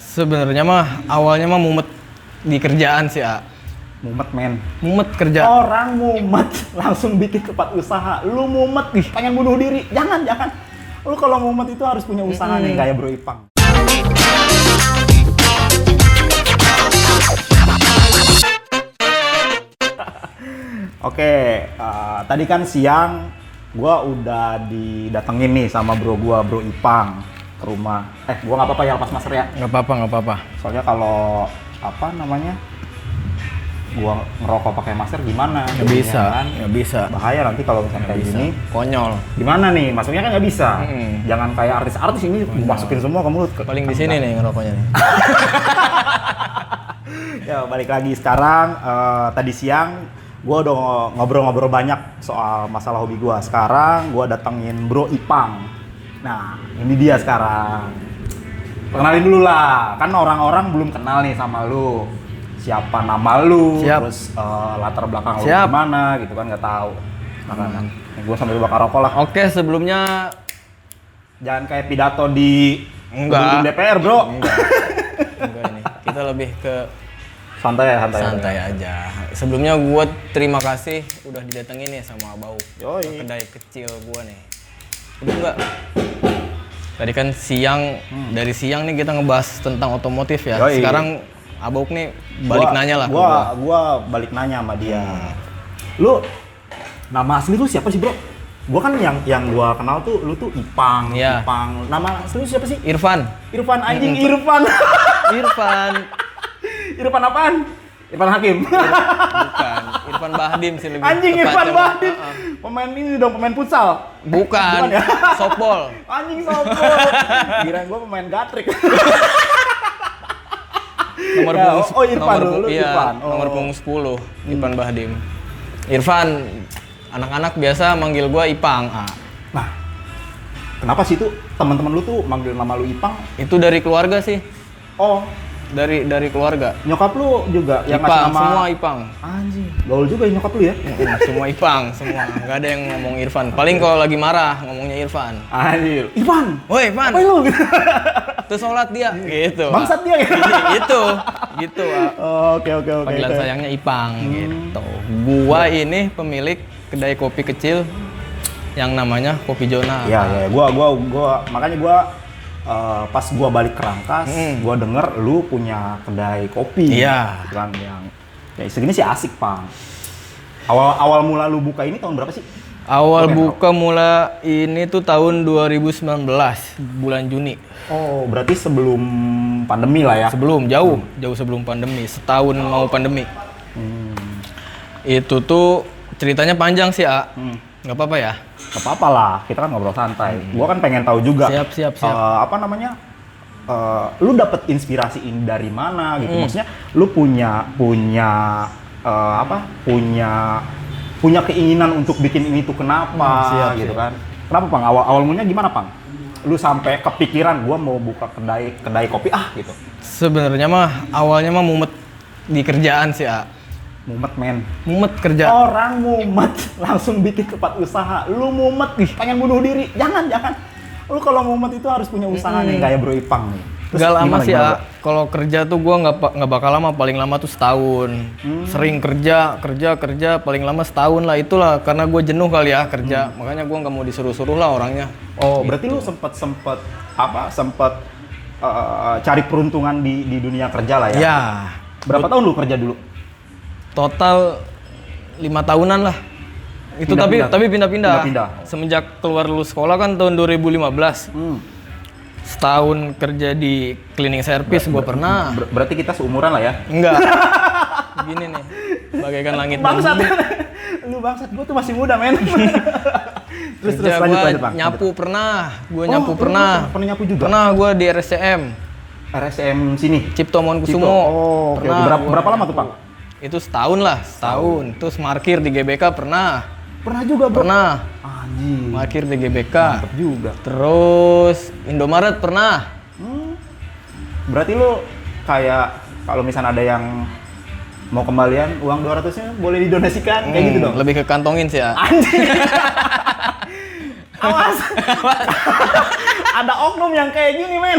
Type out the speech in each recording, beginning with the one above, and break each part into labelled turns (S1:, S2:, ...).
S1: Sebenarnya mah awalnya mah mumet di kerjaan sih, A.
S2: Mumet men.
S1: Mumet kerja.
S2: Orang mumet langsung bikin tempat usaha. Lu mumet ih pengen bunuh diri. Jangan, jangan. Lu kalau mumet itu harus punya usaha nih kayak Bro Ipang. Oke, eh, tadi kan siang gua udah didatengin nih sama bro gua, Bro Ipang ke rumah. Eh, gua nggak apa-apa ya lepas masker ya.
S1: Nggak apa-apa, nggak apa-apa.
S2: soalnya kalau apa namanya gua ngerokok pakai masker gimana
S1: Nggak bisa,
S2: Ya kan?
S1: nggak bisa. Ya
S2: bahaya nanti kalau misalnya kayak
S1: Bisa.
S2: gini
S1: Konyol.
S2: gimana nih masuknya kan nggak bisa
S1: Mm-mm.
S2: jangan kayak artis-artis ini masukin semua ke mulut Ke-
S1: Iya. Paling di sini nih ngerokoknya nih.
S2: ya balik lagi sekarang eh, tadi siang gua udah ngobrol-ngobrol banyak soal masalah hobi gua sekarang gua datengin bro Ipang nah ini dia sekarang kenalin dulu lah kan orang-orang belum kenal nih sama lu siapa nama lu
S1: Siap.
S2: terus eh, latar belakang
S1: Siap. Hmm.
S2: lu gimana gitu kan nggak tahu makanya gue sambil bakar rokok lah
S1: Oke, sebelumnya
S2: jangan kayak pidato di
S1: Enggak.
S2: gedung DPR bro
S1: enggak. enggak ini. Kita lebih ke
S2: santai ya santai
S1: santai aja. Sebelumnya gua terima kasih udah didatengin nih sama Bau.
S2: Yoi.
S1: Ke Kedai kecil gua nih. Udah enggak? Tadi kan siang dari siang nih kita ngebahas tentang otomotif ya.
S2: Yoi.
S1: Sekarang Abok nih balik
S2: Gua-
S1: nanya lah Hmm. ke
S2: gua,
S1: gua.
S2: gua balik nanya sama dia lu nama asli lu siapa sih bro gua kan yang yang gua kenal tuh lu tuh Ipang
S1: Iya. Hmm.
S2: Ipang nama asli lu siapa sih
S1: Irfan.
S2: Irfan anjing Irfan
S1: Irfan
S2: Irfan apaan Irfan Hakim
S1: Iya, bukan Irfan Bahdim sih lebih
S2: anjing
S1: tepatnya,
S2: Irfan
S1: Bang.
S2: Bahdim
S1: Heeh.
S2: pemain ini dong pemain futsal
S1: bukan,
S2: Bukan ya?
S1: Sopol
S2: anjing sopo kirain gua pemain gatrik
S1: nomor
S2: Ya,
S1: punggung
S2: oh, Irfan
S1: nomor,
S2: dulu,
S1: pu- iya,
S2: Irfan. Oh. Hmm.
S1: nomor punggung 10 Irfan Bahdim Irfan anak-anak biasa manggil gua Ipang ah.
S2: nah kenapa sih tuh teman-teman lu tuh manggil nama lu Ipang
S1: itu dari keluarga sih
S2: oh
S1: dari dari keluarga
S2: nyokap lu juga yang ngasih
S1: Ipang
S2: nama
S1: semua Ipang
S2: Anjing, gaul juga ya nyokap lu ya.
S1: Mm, semua Ipang semua nggak ada yang ngomong Irfan paling kalau lagi marah ngomongnya Irfan
S2: Anjir. Ivan,
S1: Woi Irfan,
S2: apa lu?
S1: tuh sholat dia, gitu. ah.
S2: Bangsat dia ya.
S1: gitu, gitu. ah.
S2: Oke oke oke. ya.
S1: Panggilan
S2: oke.
S1: sayangnya Ipang gitu. Gua ini pemilik kedai kopi kecil yang namanya Kopi Jona.
S2: Iya iya, gua gua gua makanya gua eh, pas gua balik ke Rangkas, gua denger lu punya kedai kopi.
S1: Iya.
S2: Gitu Kan yang ya segini sih asik, Pang. Awal awal mula lu buka ini tahun berapa sih?
S1: Awal
S2: Oke,
S1: buka mula ini tuh tahun 2019 bulan Juni.
S2: Oh, berarti sebelum pandemi lah ya.
S1: Sebelum jauh, jauh sebelum pandemi, setahun mau pandemi.
S2: Hmm.
S1: Itu tuh ceritanya panjang sih, A.
S2: Hmm.
S1: nggak apa-apa ya?
S2: Gak apa-apa lah, kita kan ngobrol santai. Gua kan pengen tahu juga.
S1: Hmm. Siap, siap, siap.
S2: eh, apa namanya? eh, lu dapat inspirasi ini dari mana gitu?
S1: Hmm.
S2: Maksudnya lu punya punya eh, apa? Punya punya keinginan untuk bikin ini tuh kenapa
S1: Hmm, siap,
S2: gitu kan? Kenapa, Pang? Awal awal mulanya gimana, Pang? Lu sampai kepikiran gua mau buka kedai kedai kopi ah gitu.
S1: Sebenarnya mah awalnya mah mumet di kerjaan sih, A.
S2: Mumet men.
S1: Mumet kerja.
S2: Orang mumet langsung bikin tempat usaha. Lu mumet ih pengen bunuh diri. Jangan, jangan. Lu kalau mumet itu harus punya usaha nih kayak Bro Ipang nih. Terus
S1: Gak lama
S2: gimana,
S1: sih
S2: gimana,
S1: ya. Kalau kerja tuh gua nggak pa- nggak bakal lama, paling lama tuh setahun.
S2: Hmm.
S1: Sering kerja, kerja, kerja, paling lama setahun lah itulah karena gue jenuh kali ya kerja. Makanya gua nggak mau disuruh-suruh lah orangnya. Iya.
S2: Bro? Hmm. Oh, berarti lu sempet sempet apa? Sempet eh, cari peruntungan di di dunia kerja lah ya.
S1: Ya,
S2: Berapa tahun lu kerja dulu?
S1: total lima tahunan lah. Itu
S2: Pindah-pindah.
S1: tapi tapi pindah-pindah.
S2: Pindah-pindah.
S1: Semenjak keluar lulus sekolah kan tahun 2015. Setahun kerja di cleaning service gua pernah.
S2: Ber- berarti kita seumuran lah ya.
S1: Enggak. Begini nih. Bagaikan langit dan
S2: Bangsat. lu bangsat, gua tuh masih muda, men. terus terus
S1: Kerja
S2: lanjut
S1: gua
S2: lanjut, Bang.
S1: nyapu pernah, gue
S2: Oh,
S1: nyapu
S2: lu
S1: pernah.
S2: pernah nyapu juga?
S1: Pernah gue di RSCM,
S2: RSM sini.
S1: Cipto Monkusumo.
S2: Cipto. Oh, oke, oke.
S1: Pernah
S2: Berapa-
S1: gua
S2: berapa lama tuh,
S1: nyapu.
S2: Pak?
S1: Itu setahun lah, setahun. Terus markir di GBK pernah,
S2: Pernah juga, Bro.
S1: pernah.
S2: Anjing.
S1: Markir di GBK.
S2: Mantep juga.
S1: Terus Indomaret pernah.
S2: Hmm. Berarti lu kayak kalau misalnya ada yang mau kembalian uang 200-nya boleh didonasikan kayak gitu
S1: Hmm,
S2: dong.
S1: Lebih ke kantongin sih ya.
S2: Anjing. Awas. ada oknum yang kayak gini, men.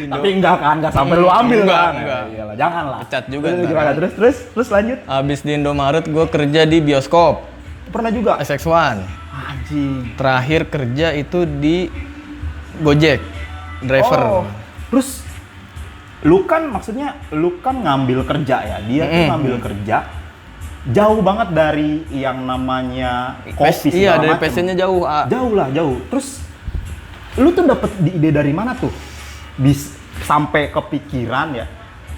S1: Indo.
S2: Tapi enggak kan, enggak sampai lu ambil
S1: Enggak,
S2: kan.
S1: enggak.
S2: Ya iyalah, jangan lah.
S1: Pecat juga
S2: Terus
S1: ntar.
S2: gimana? Terus terus terus lanjut.
S1: Abis di Indomaret gue kerja di bioskop
S2: Pernah juga.
S1: SX1.
S2: Anjing.
S1: Terakhir kerja itu di Gojek driver.
S2: Oh, terus lu kan maksudnya lu kan ngambil kerja ya. Dia tuh
S1: Mm-mm.
S2: ngambil kerja jauh banget dari yang namanya
S1: Pes-
S2: kopi
S1: iya
S2: segala
S1: dari
S2: macem.
S1: PC-nya jauh. ah.
S2: jauh lah jauh terus lu tuh dapet di- ide dari mana tuh bis sampai kepikiran ya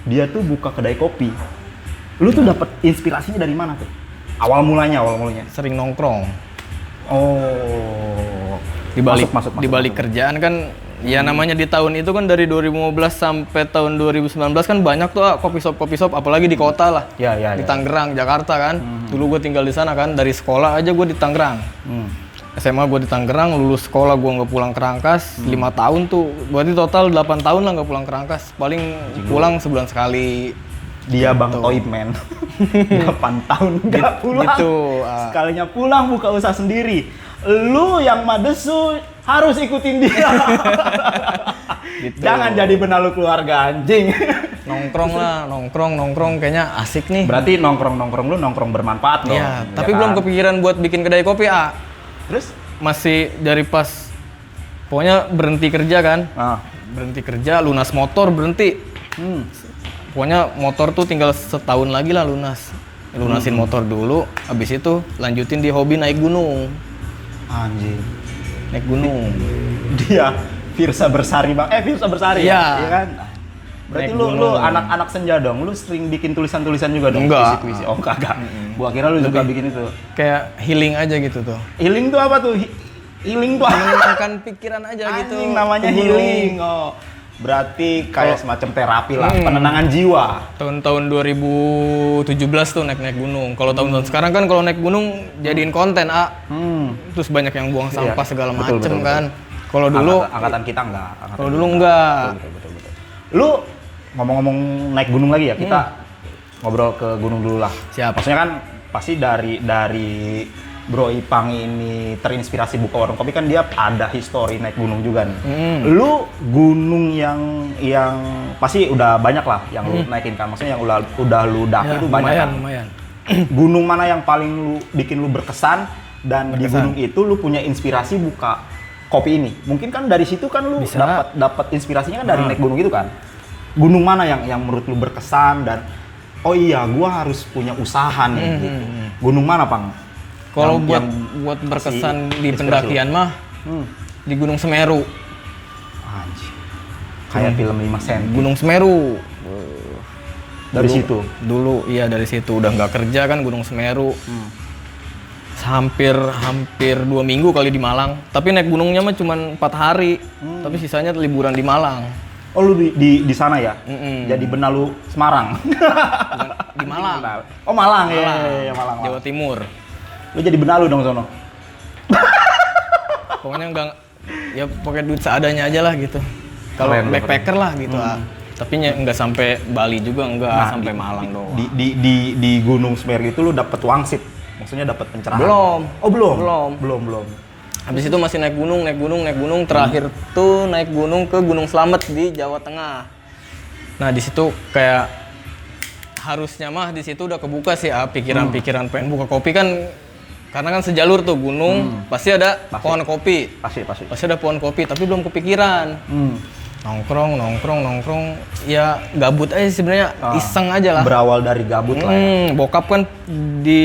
S2: dia tuh buka kedai kopi lu tuh dapet inspirasinya dari mana tuh awal mulanya awal mulanya
S1: Sering nongkrong.
S2: oh
S1: Di balik
S2: masuk, masuk,
S1: di
S2: masuk,
S1: balik
S2: masuk.
S1: kerjaan kan ya namanya di tahun itu kan dari 2015 sampai tahun 2019 kan banyak tuh ah, kopi shop kopi shop apalagi di kota lah.
S2: ya ya, Hmm.
S1: Di
S2: ya.
S1: Tangerang, Jakarta kan. Dulu gue tinggal di sana kan dari sekolah aja gue di Tangerang.
S2: Hmm.
S1: SMA gue di Tangerang, lulus sekolah gue nggak pulang Kerangkas,
S2: Hmm.
S1: lima tahun tuh, berarti total 8 tahun lah nggak pulang Kerangkas, paling pulang sebulan sekali.
S2: dia bang Toib men 8 tahun nggak pulang
S1: gitu, ah.
S2: sekalinya pulang buka usaha sendiri lu yang madesu harus ikutin dia
S1: Gitu.
S2: jangan jadi benalu keluarga anjing
S1: Nongkrong lah, nongkrong, nongkrong, kayaknya asik nih.
S2: Berarti nongkrong nongkrong lu nongkrong bermanfaat dong.
S1: Iya, tapi
S2: kan?
S1: belum kepikiran buat bikin kedai kopi ah,
S2: Terus?
S1: masih dari pas, pokoknya berhenti kerja kan,
S2: Ah.
S1: berhenti kerja, lunas motor berhenti,
S2: Hmm.
S1: pokoknya motor tuh tinggal setahun lagi lah lunas, lunasin
S2: Hmm.
S1: motor dulu, habis itu lanjutin di hobi naik gunung,
S2: Anjing.
S1: naik gunung.
S2: Dia Firsa Bersari bang. Eh Firsa Bersari.
S1: Iya.
S2: Iya kan? Berarti
S1: Naik
S2: lu lu
S1: gunung.
S2: anak-anak senja dong. Lu sering bikin tulisan-tulisan juga dong.
S1: Enggak.
S2: Puisi-puisi. Oh kagak. Gua kira lu juga bikin itu.
S1: kayak healing aja gitu tuh.
S2: Healing tuh apa tuh? Hi- Healing tuh apa?
S1: Menenangkan pikiran aja gitu.
S2: Anjing namanya
S1: Ke gunung.
S2: healing. Oh. Berarti
S1: Oh.
S2: kayak semacam terapi lah,
S1: Hmm.
S2: penenangan jiwa.
S1: Tahun-tahun 2017 tuh naik-naik gunung. Kalau tahun-tahun sekarang kan kalau naik gunung jadiin konten, A.
S2: Hmm.
S1: Terus banyak yang buang
S2: Iya,
S1: sampah segala macem
S2: betul, betul, betul.
S1: kan. Kalau dulu
S2: Angkatan- angkatan kita enggak. Angkatan
S1: kalau dulu enggak.
S2: Betul, betul, betul, betul. Lu ngomong-ngomong naik gunung lagi ya, kita ngobrol ke gunung dulu lah.
S1: Hmm. Siap.
S2: Maksudnya kan pasti dari dari Bro Ipang ini terinspirasi buka warung kopi kan dia ada histori naik gunung juga nih.
S1: Hmm.
S2: Lu gunung yang yang pasti udah banyak lah yang lu naikin kan. Maksudnya yang udah udah lu daki
S1: Hmm. Ya,
S2: itu banyak.
S1: lumayan,
S2: kan?
S1: lumayan.
S2: gunung mana yang paling lu bikin lu berkesan dan di
S1: Berkesan.
S2: gunung itu lu punya inspirasi buka kopi ini. Mungkin kan dari situ kan lu
S1: Bisa.
S2: dapat dapat inspirasinya kan dari
S1: Hmm.
S2: naik gunung itu kan. Gunung mana yang yang menurut lu berkesan dan oh iya gua harus punya usaha nih
S1: Hmm,
S2: gitu.
S1: hmm,
S2: Gunung mana, Pang?
S1: Kalau
S2: Yang-
S1: buat
S2: yang
S1: buat berkesan
S2: kasih
S1: di
S2: inspirasi
S1: pendakian mah
S2: hmm.
S1: di Gunung Semeru.
S2: anjir. Kayak film 5 sen.
S1: Hmm. Gunung Semeru.
S2: Dari
S1: Dulu-
S2: situ.
S1: Dulu iya dari situ udah nggak kerja kan Gunung Semeru.
S2: Hmm.
S1: hampir hampir dua minggu kali di Malang tapi naik gunungnya mah cuman empat hari
S2: Hmm.
S1: tapi sisanya liburan di Malang
S2: Oh lu di di, di sana ya?
S1: Mm-mm.
S2: Jadi benalu Semarang.
S1: di hmm. Malang,
S2: oh
S1: Malang,
S2: Malang, ya, ya, ya, ya, Malang.
S1: Jawa
S2: Malang.
S1: Timur
S2: Lu jadi benalu dong sono.
S1: pokoknya enggak ya pakai duit seadanya aja lah gitu kalau
S2: Keren, Hmm.
S1: backpacker lah gitu ah. tapi nya- nggak sampai Bali juga nggak
S2: Nah,
S1: sampai Malang doang
S2: di di di, di Gunung Semeru itu lu dapet wangsit maksudnya dapet pencerahan
S1: Belum.
S2: oh belum
S1: Belum.
S2: belum belum
S1: habis itu masih naik gunung naik gunung naik gunung terakhir
S2: Hmm.
S1: tuh naik gunung ke Gunung Slamet di Jawa Tengah nah di situ kayak harusnya mah di situ udah kebuka sih ah, pikiran-pikiran
S2: Hmm.
S1: pengen buka kopi kan karena kan sejalur tuh gunung pasti ada
S2: Hmm. Pasti.
S1: pohon kopi
S2: pasti pasti
S1: pasti ada pohon kopi tapi belum kepikiran
S2: hmm.
S1: nongkrong nongkrong nongkrong ya gabut aja sebenarnya
S2: Ah.
S1: iseng aja lah
S2: berawal dari gabut lah ya.
S1: Hmm, bokap kan di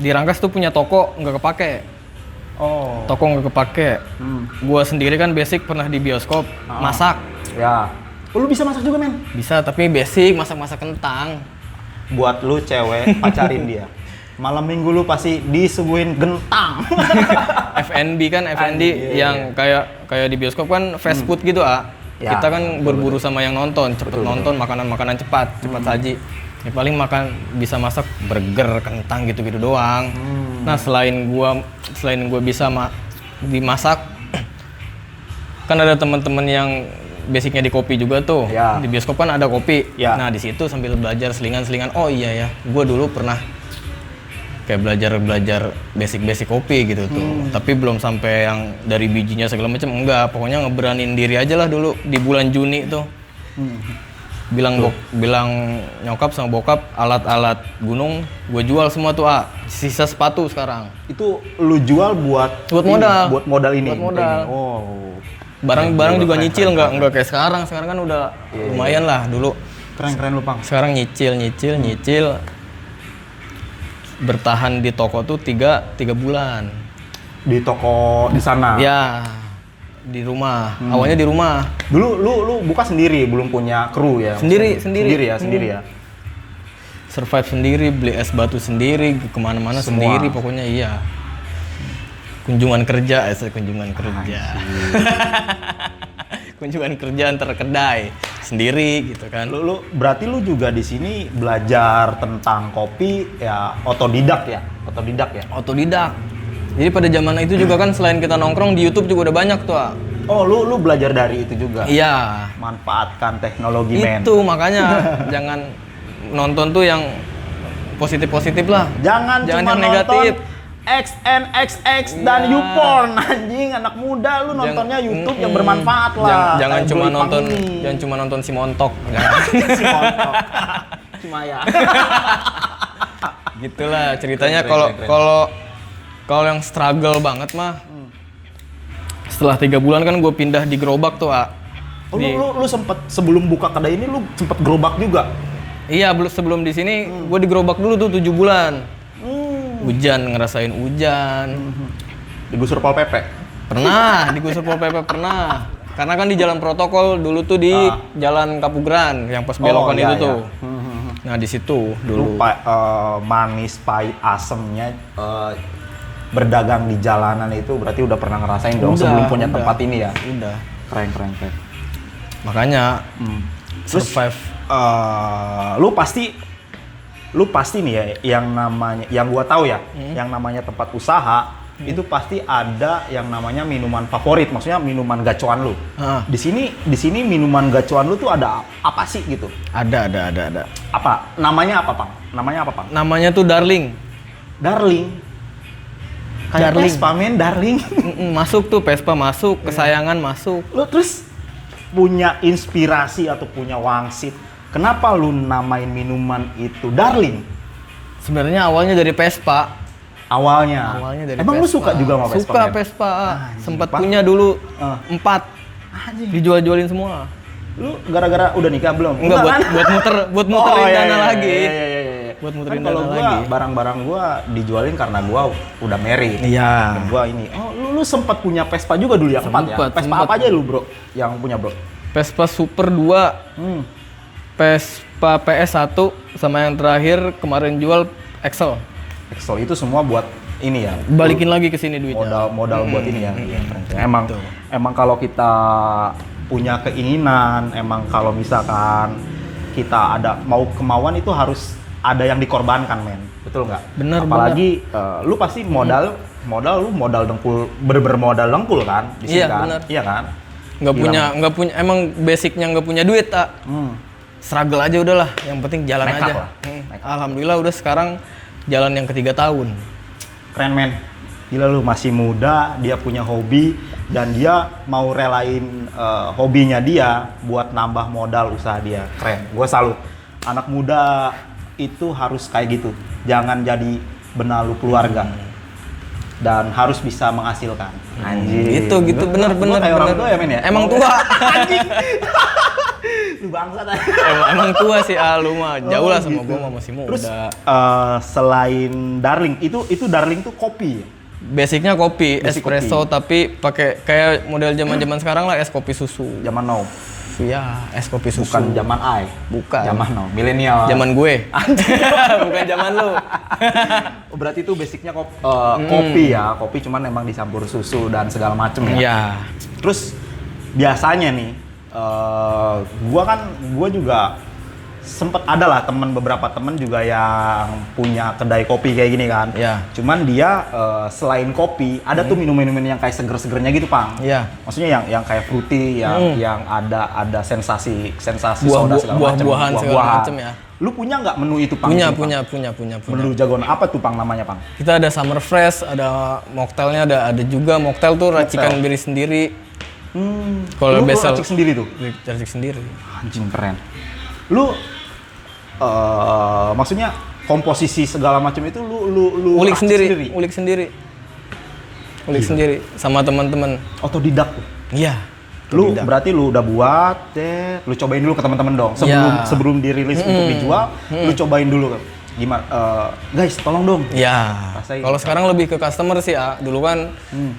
S1: di Rangkas tuh punya toko nggak kepake Hmm.
S2: oh
S1: toko nggak kepake
S2: hmm.
S1: Gua sendiri kan basic pernah di bioskop
S2: Ah.
S1: masak
S2: ya oh, lu bisa masak juga men
S1: bisa tapi basic masak-masak kentang
S2: buat lu cewek pacarin dia malam minggu lu pasti disuguhin gentang
S1: F&B kan F&B
S2: Anjing, iya, Hmm.
S1: yang kayak kayak di bioskop kan fast food gitu ah
S2: Ya,
S1: kita kan berburu sama yang nonton cepet nonton makanan-makanan cepat cepat
S2: Hmm.
S1: saji ya paling makan bisa masak burger kentang gitu-gitu doang
S2: Hmm.
S1: nah selain gua selain gua bisa ma- dimasak kan ada teman-teman yang basicnya di kopi juga tuh
S2: Ya.
S1: di bioskop kan ada kopi
S2: Ya.
S1: nah di situ sambil belajar selingan-selingan oh iya ya gua dulu pernah kayak belajar belajar basic basic kopi gitu tuh tapi belum sampai yang dari bijinya segala macam enggak pokoknya ngeberanin diri aja lah dulu di bulan Juni tuh bilang bok- bilang nyokap sama bokap alat-alat gunung gue jual semua tuh ah sisa sepatu sekarang
S2: Itu lu jual buat
S1: Buat
S2: ini,
S1: modal.
S2: buat modal ini.
S1: Buat modal.
S2: ini. Oh.
S1: barang-barang juga nyicil nggak nggak kayak sekarang sekarang kan udah lumayan lah dulu
S2: Keren-keren lu, Pang.
S1: sekarang nyicil nyicil nyicil bertahan di toko tuh tiga tiga bulan
S2: Di toko di sana.
S1: ya di rumah awalnya di rumah
S2: Dulu lu lu buka sendiri, belum punya kru ya.
S1: Sendiri, sendiri. Hmm.
S2: maksudnya? Sendiri ya, sendiri ya.
S1: survive sendiri beli es batu sendiri kemana-mana
S2: Semua.
S1: sendiri pokoknya iya kunjungan kerja eh, saya kunjungan kerja kunjungan kerja antar kedai sendiri gitu kan
S2: Lu, lu berarti lu juga di sini belajar tentang kopi ya otodidak ya, otodidak ya.
S1: otodidak jadi pada zaman itu juga kan selain kita nongkrong di YouTube juga udah banyak tuh ah.
S2: Oh, lu lu belajar dari itu juga.
S1: iya
S2: Manfaatkan teknologi men.
S1: itu makanya jangan nonton tuh yang positif positif lah
S2: Jangan,
S1: yang
S2: cuma nonton XNXX dan
S1: Iya.
S2: YouPorn anjing anak muda lu
S1: Jangan-
S2: nontonnya YouTube yang
S1: Mm-mm.
S2: bermanfaat lah.
S1: Jangan, jangan
S2: Kayak
S1: cuma
S2: Joey Pang
S1: nonton,
S2: ini.
S1: jangan cuma nonton si montok. Jangan.
S2: Si montok. cuma ya.
S1: Gitulah ceritanya kalau kalau kalau yang struggle banget mah.
S2: Hmm.
S1: Setelah tiga bulan kan gue pindah di gerobak tuh, A.
S2: Oh, lu, lu, lu sempet sebelum buka kedai ini lu sempet gerobak juga.
S1: Iya, belum sebelum di sini
S2: Hmm.
S1: gue di gerobak dulu tuh tujuh bulan. Hujan ngerasain
S2: Hmm.
S1: hujan.
S2: Digusur Pol PP.
S1: Pernah digusur pol PP pernah. Karena kan di jalan protokol dulu tuh di
S2: Ah.
S1: jalan Kapugran yang pas belokan
S2: iya,
S1: itu
S2: iya.
S1: tuh. Nah, di situ dulu.
S2: Lu pa- eh, manis pahit asemnya eh, berdagang di jalanan itu berarti udah pernah ngerasain dong
S1: Udah,
S2: sebelum punya
S1: udah.
S2: tempat ini ya.
S1: Udah.
S2: Keren keren keren.
S1: Makanya
S2: Hmm.
S1: survive
S2: eh lu pasti lu pasti nih ya yang namanya yang gua tahu ya
S1: Hmm.
S2: yang namanya tempat usaha itu pasti ada yang namanya minuman favorit maksudnya minuman gacuan lu
S1: Ah.
S2: di sini di sini minuman gacuan lu tuh ada apa sih gitu
S1: ada ada ada ada.
S2: apa namanya apa pang namanya apa pang
S1: Namanya tuh Darling.
S2: darling kayak Iya.
S1: Darling.
S2: Vespa, men, darling
S1: Mm-mm, masuk tuh Vespa masuk, kesayangan masuk.
S2: lu terus punya inspirasi atau punya wangsit kenapa lu namain minuman itu darling
S1: Sebenarnya awalnya dari Vespa.
S2: Awalnya.
S1: Awalnya dari
S2: Ah. Emang lu
S1: Vespa.
S2: suka juga sama Vespa?
S1: Suka
S2: men?
S1: Vespa. A.
S2: Anjing,
S1: Sempat
S2: iya, Pak.
S1: punya dulu
S2: Ah.
S1: empat
S2: Anjing.
S1: dijual-jualin semua.
S2: Lu gara-gara udah nikah belum? kan?
S1: Enggak buat buat muter, buat muterin dana lagi.
S2: Oh, Iya, iya, iya, iya.
S1: Buat muterin
S2: kan kalau
S1: dana
S2: gua,
S1: lagi.
S2: Barang-barang gua dijualin karena gua udah married.
S1: Iya.
S2: Dan Gua ini. Oh, lu, lu sempat punya Vespa juga dulu ya? Empat ya?
S1: Sempat,
S2: Vespa
S1: sempat.
S2: apa aja lu, Bro? Yang punya, Bro?
S1: Vespa Super 2,
S2: Hmm.
S1: Vespa PS1 sama yang terakhir kemarin jual Excel.
S2: Excel itu semua buat ini ya.
S1: Balikin lagi ke sini duitnya.
S2: modal modal
S1: Hmm.
S2: buat ini ya. Iya, keren, keren. Emang emang kalau kita punya keinginan, emang kalau misalkan kita ada mau kemauan itu harus ada yang dikorbankan, men. Betul nggak?
S1: Bener,
S2: Apalagi eh, lu pasti modal modal lu modal dengkul berber modal dengkul kan di sini
S1: Iya,
S2: kan?
S1: bener.
S2: Iya kan?
S1: Nggak
S2: Hilang.
S1: punya, nggak punya. Emang basicnya nggak punya duit, tak.
S2: Hmm.
S1: struggle aja udahlah yang penting jalan
S2: Nekat
S1: aja
S2: lah.
S1: Hmm.
S2: Nekat.
S1: alhamdulillah udah sekarang jalan yang ketiga tahun
S2: Keren, men. Gila lu masih muda, dia punya hobi dan dia mau relain eh, hobinya dia buat nambah modal usaha dia. Keren. Gue salut. Anak muda itu harus kayak gitu. Jangan jadi benalu keluarga. Dan harus bisa menghasilkan. Anjir.
S1: Gitu, gitu.
S2: Gua-
S1: Bener,
S2: gua
S1: bener,
S2: kayak orang
S1: bener.
S2: tua ya, men ya?
S1: Emang tua.
S2: Anjing. lu bangsat.
S1: emang, emang tua sih ah, lu mah jauh lah sama
S2: Oh, gitu.
S1: gua mah masih muda
S2: Terus eh, selain Darling, itu itu Darling tuh kopi ya?
S1: basicnya kopi
S2: Basic
S1: espresso tapi pakai kayak model zaman zaman sekarang lah es kopi susu
S2: Zaman now.
S1: ya es kopi susu
S2: Bukan zaman I.
S1: Bukan.
S2: Zaman now. Milenial.
S1: zaman gue bukan zaman lu
S2: Oh, Berarti itu basicnya kop- eh,
S1: Hmm.
S2: kopi ya. Kopi cuman emang dicampur susu dan segala macem ya.
S1: ya
S2: Terus biasanya nih, eh, gua kan gua juga sempet ada lah temen beberapa temen juga yang punya kedai kopi kayak gini kan.
S1: Iya. Hmm.
S2: Cuman dia eh, selain kopi ada tuh minum-minuman yang kayak seger-segernya gitu pang.
S1: Iya.
S2: Maksudnya yang yang kayak
S1: Hmm.
S2: fruity, yang yang ada ada sensasi sensasi
S1: Buah-
S2: soda
S1: buah-
S2: segala macam.
S1: buah-buahan segala
S2: buah-buahan.
S1: macam ya.
S2: Lu punya nggak menu itu pang?
S1: Punya,
S2: Ini, Pang?
S1: punya, punya, punya, punya.
S2: Menu jagoan apa tuh pang namanya pang?
S1: Kita ada summer fresh, ada mocktailnya, ada ada juga mocktail tuh racikan diri sendiri,
S2: Hmm.
S1: Kalau
S2: lu, lu
S1: besel-
S2: racik sendiri tuh.
S1: racik sendiri.
S2: Anjing keren. Lu eh maksudnya komposisi segala macam itu lu lu lu
S1: Ulik
S2: racik
S1: sendiri, ulik sendiri,
S2: Iya.
S1: ulik sendiri sama teman-teman.
S2: Otodidak tuh.
S1: Iya.
S2: Lu berarti lu udah buat, deh. lu cobain dulu ke teman-teman dong. Sebelum
S1: Iya.
S2: sebelum dirilis untuk dijual, lu
S1: Hmm.
S2: cobain dulu. Gimana eh, guys, tolong dong.
S1: Iya.
S2: Rasain.
S1: Kalau sekarang lebih ke customer sih, ah. dulu kan
S2: Hmm.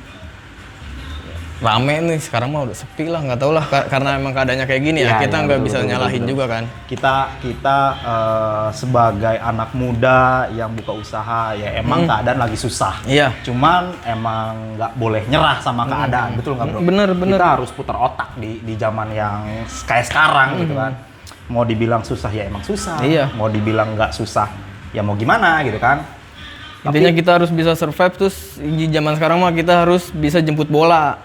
S1: rame nih, sekarang mah udah sepi lah, nggak tau lah Ka- karena emang keadaannya kayak gini ya,
S2: Iya,
S1: kita
S2: iya,
S1: nggak
S2: betul,
S1: bisa
S2: betul, betul,
S1: nyalahin
S2: betul.
S1: juga kan.
S2: Kita kita eh, sebagai anak muda yang buka usaha ya emang
S1: Hmm.
S2: keadaan lagi susah.
S1: Iya.
S2: Cuman emang nggak boleh nyerah sama keadaan, betul nggak bro?
S1: Hmm. Bener, bener.
S2: Kita harus putar otak di di zaman yang kayak sekarang gitu kan. Mau dibilang susah ya emang susah.
S1: Hmm. Iya.
S2: Mau dibilang nggak susah ya mau gimana gitu kan?
S1: Intinya kita harus bisa survive terus di zaman sekarang mah kita harus bisa jemput bola.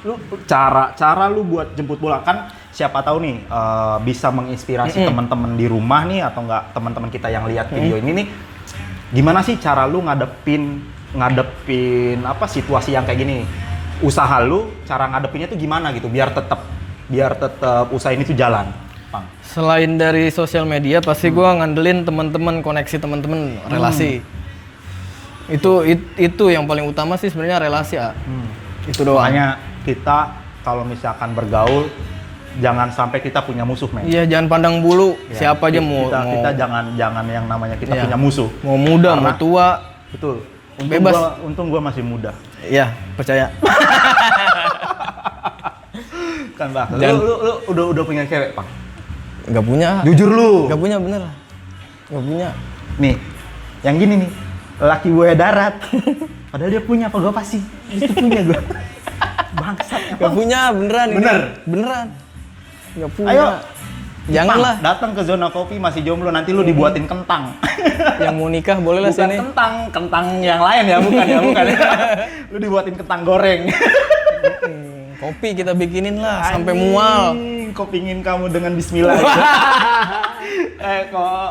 S2: Lu cara cara lu buat jemput bola kan siapa tahu nih eh, bisa menginspirasi teman-teman di rumah nih atau enggak teman-teman kita yang lihat video ini nih gimana sih cara lu ngadepin ngadepin apa situasi yang kayak gini usaha lu cara ngadepinnya tuh gimana gitu biar tetap biar tetap usaha ini tuh jalan Pang.
S1: Selain dari sosial media pasti gua ngandelin teman-teman, koneksi teman-teman, relasi. Itu it- itu yang paling utama sih sebenarnya relasi, ah. Itu doang.
S2: Makanya kita kalau misalkan bergaul jangan sampai kita punya musuh men
S1: Iya, jangan pandang bulu
S2: Ya,
S1: siapa aja mau
S2: kita,
S1: mau,
S2: kita jangan jangan yang namanya kita
S1: Iya.
S2: punya musuh
S1: mau muda, mau
S2: Karena-
S1: tua.
S2: Betul. Untung
S1: Bebas.
S2: Gua, untung gua masih muda.
S1: Iya, percaya.
S2: Kan bang. Lu,
S1: Dan-
S2: lu, lu udah udah punya cewek, Pak?
S1: Gak punya.
S2: Jujur lu.
S1: Gak punya bener. Gak punya.
S2: Nih. Yang gini nih. Laki buaya darat. Padahal dia punya apa gua pasti. Itu punya gua. Bangsat
S1: Gak
S2: emang.
S1: punya beneran ini.
S2: Bener?
S1: Beneran. Gak punya.
S2: Ayo.
S1: Janganlah.
S2: Pang, datang ke zona kopi masih jomblo nanti lu dibuatin kentang.
S1: yang mau nikah boleh lah
S2: bukan
S1: sini.
S2: kentang, kentang yang lain ya, bukan ya, bukan. lu dibuatin kentang goreng.
S1: Kopi kita bikinin lah sampai mual.
S2: Anjing, Kok pingin kamu dengan bismillah. eh kok.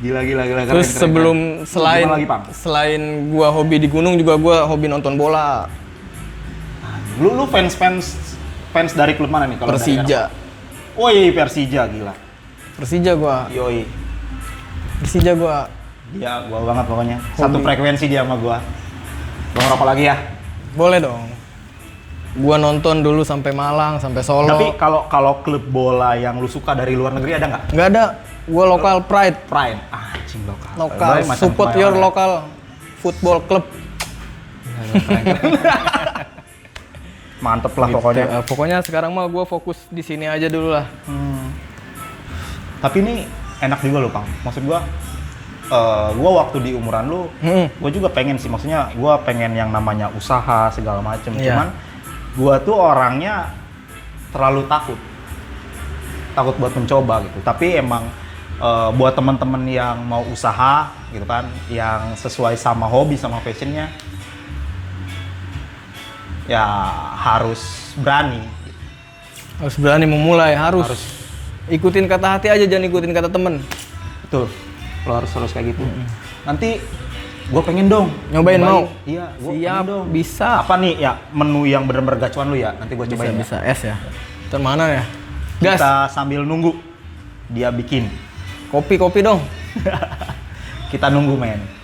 S2: Gila gila gila keren,
S1: Terus
S2: keren,
S1: sebelum
S2: keren.
S1: selain
S2: Gimana lagi, Pang?
S1: selain gua hobi di gunung juga gua hobi nonton bola
S2: Lu lu fans fans fans dari klub mana nih kalau dari
S1: Persija.
S2: Eropa? Woi, Persija gila.
S1: Persija gua.
S2: Yoi.
S1: Persija gua.
S2: Dia gua banget pokoknya. Satu frekuensi dia sama gua. Bang rokok lagi ya.
S1: Boleh dong. Gua nonton dulu sampai Malang, sampai Solo.
S2: Tapi kalau kalau klub bola yang lu suka dari luar negeri ada nggak?
S1: nggak ada. Gua lokal pride.
S2: Prime. Ah, anjing lokal.
S1: Lokal.
S2: Gua macam
S1: Support
S2: kebayang
S1: your
S2: ya.
S1: local football club.
S2: Mantep lah Nah, pokoknya.
S1: Eh, pokoknya sekarang mah gua fokus di sini aja dulu lah.
S2: Hmm. Tapi ini enak juga loh, Pang. Maksud gua eh, gua waktu di umuran lu,
S1: Hmm.
S2: gua juga pengen sih. Maksudnya gua pengen yang namanya usaha segala macem.
S1: Iya.
S2: Cuman gua tuh orangnya terlalu takut. Takut buat mencoba gitu. Tapi emang eh, buat teman-teman yang mau usaha gitu kan, yang sesuai sama hobi sama passionnya ya harus berani.
S1: Harus berani memulai, harus.
S2: Harus.
S1: Ikutin kata hati aja jangan ikutin kata temen.
S2: Betul. Lo harus harus kayak gitu. Nanti gue pengen dong
S1: Nyobain mau?
S2: Iya, gua
S1: Siap,
S2: pengen dong.
S1: bisa.
S2: Apa nih ya menu yang bener-bener gacuan lu ya? Nanti gue
S1: Bisa
S2: cobain. ya.
S1: bisa es ya. Ntar mana ya? Gas.
S2: Kita sambil nunggu dia bikin.
S1: Kopi kopi dong.
S2: Kita nunggu men.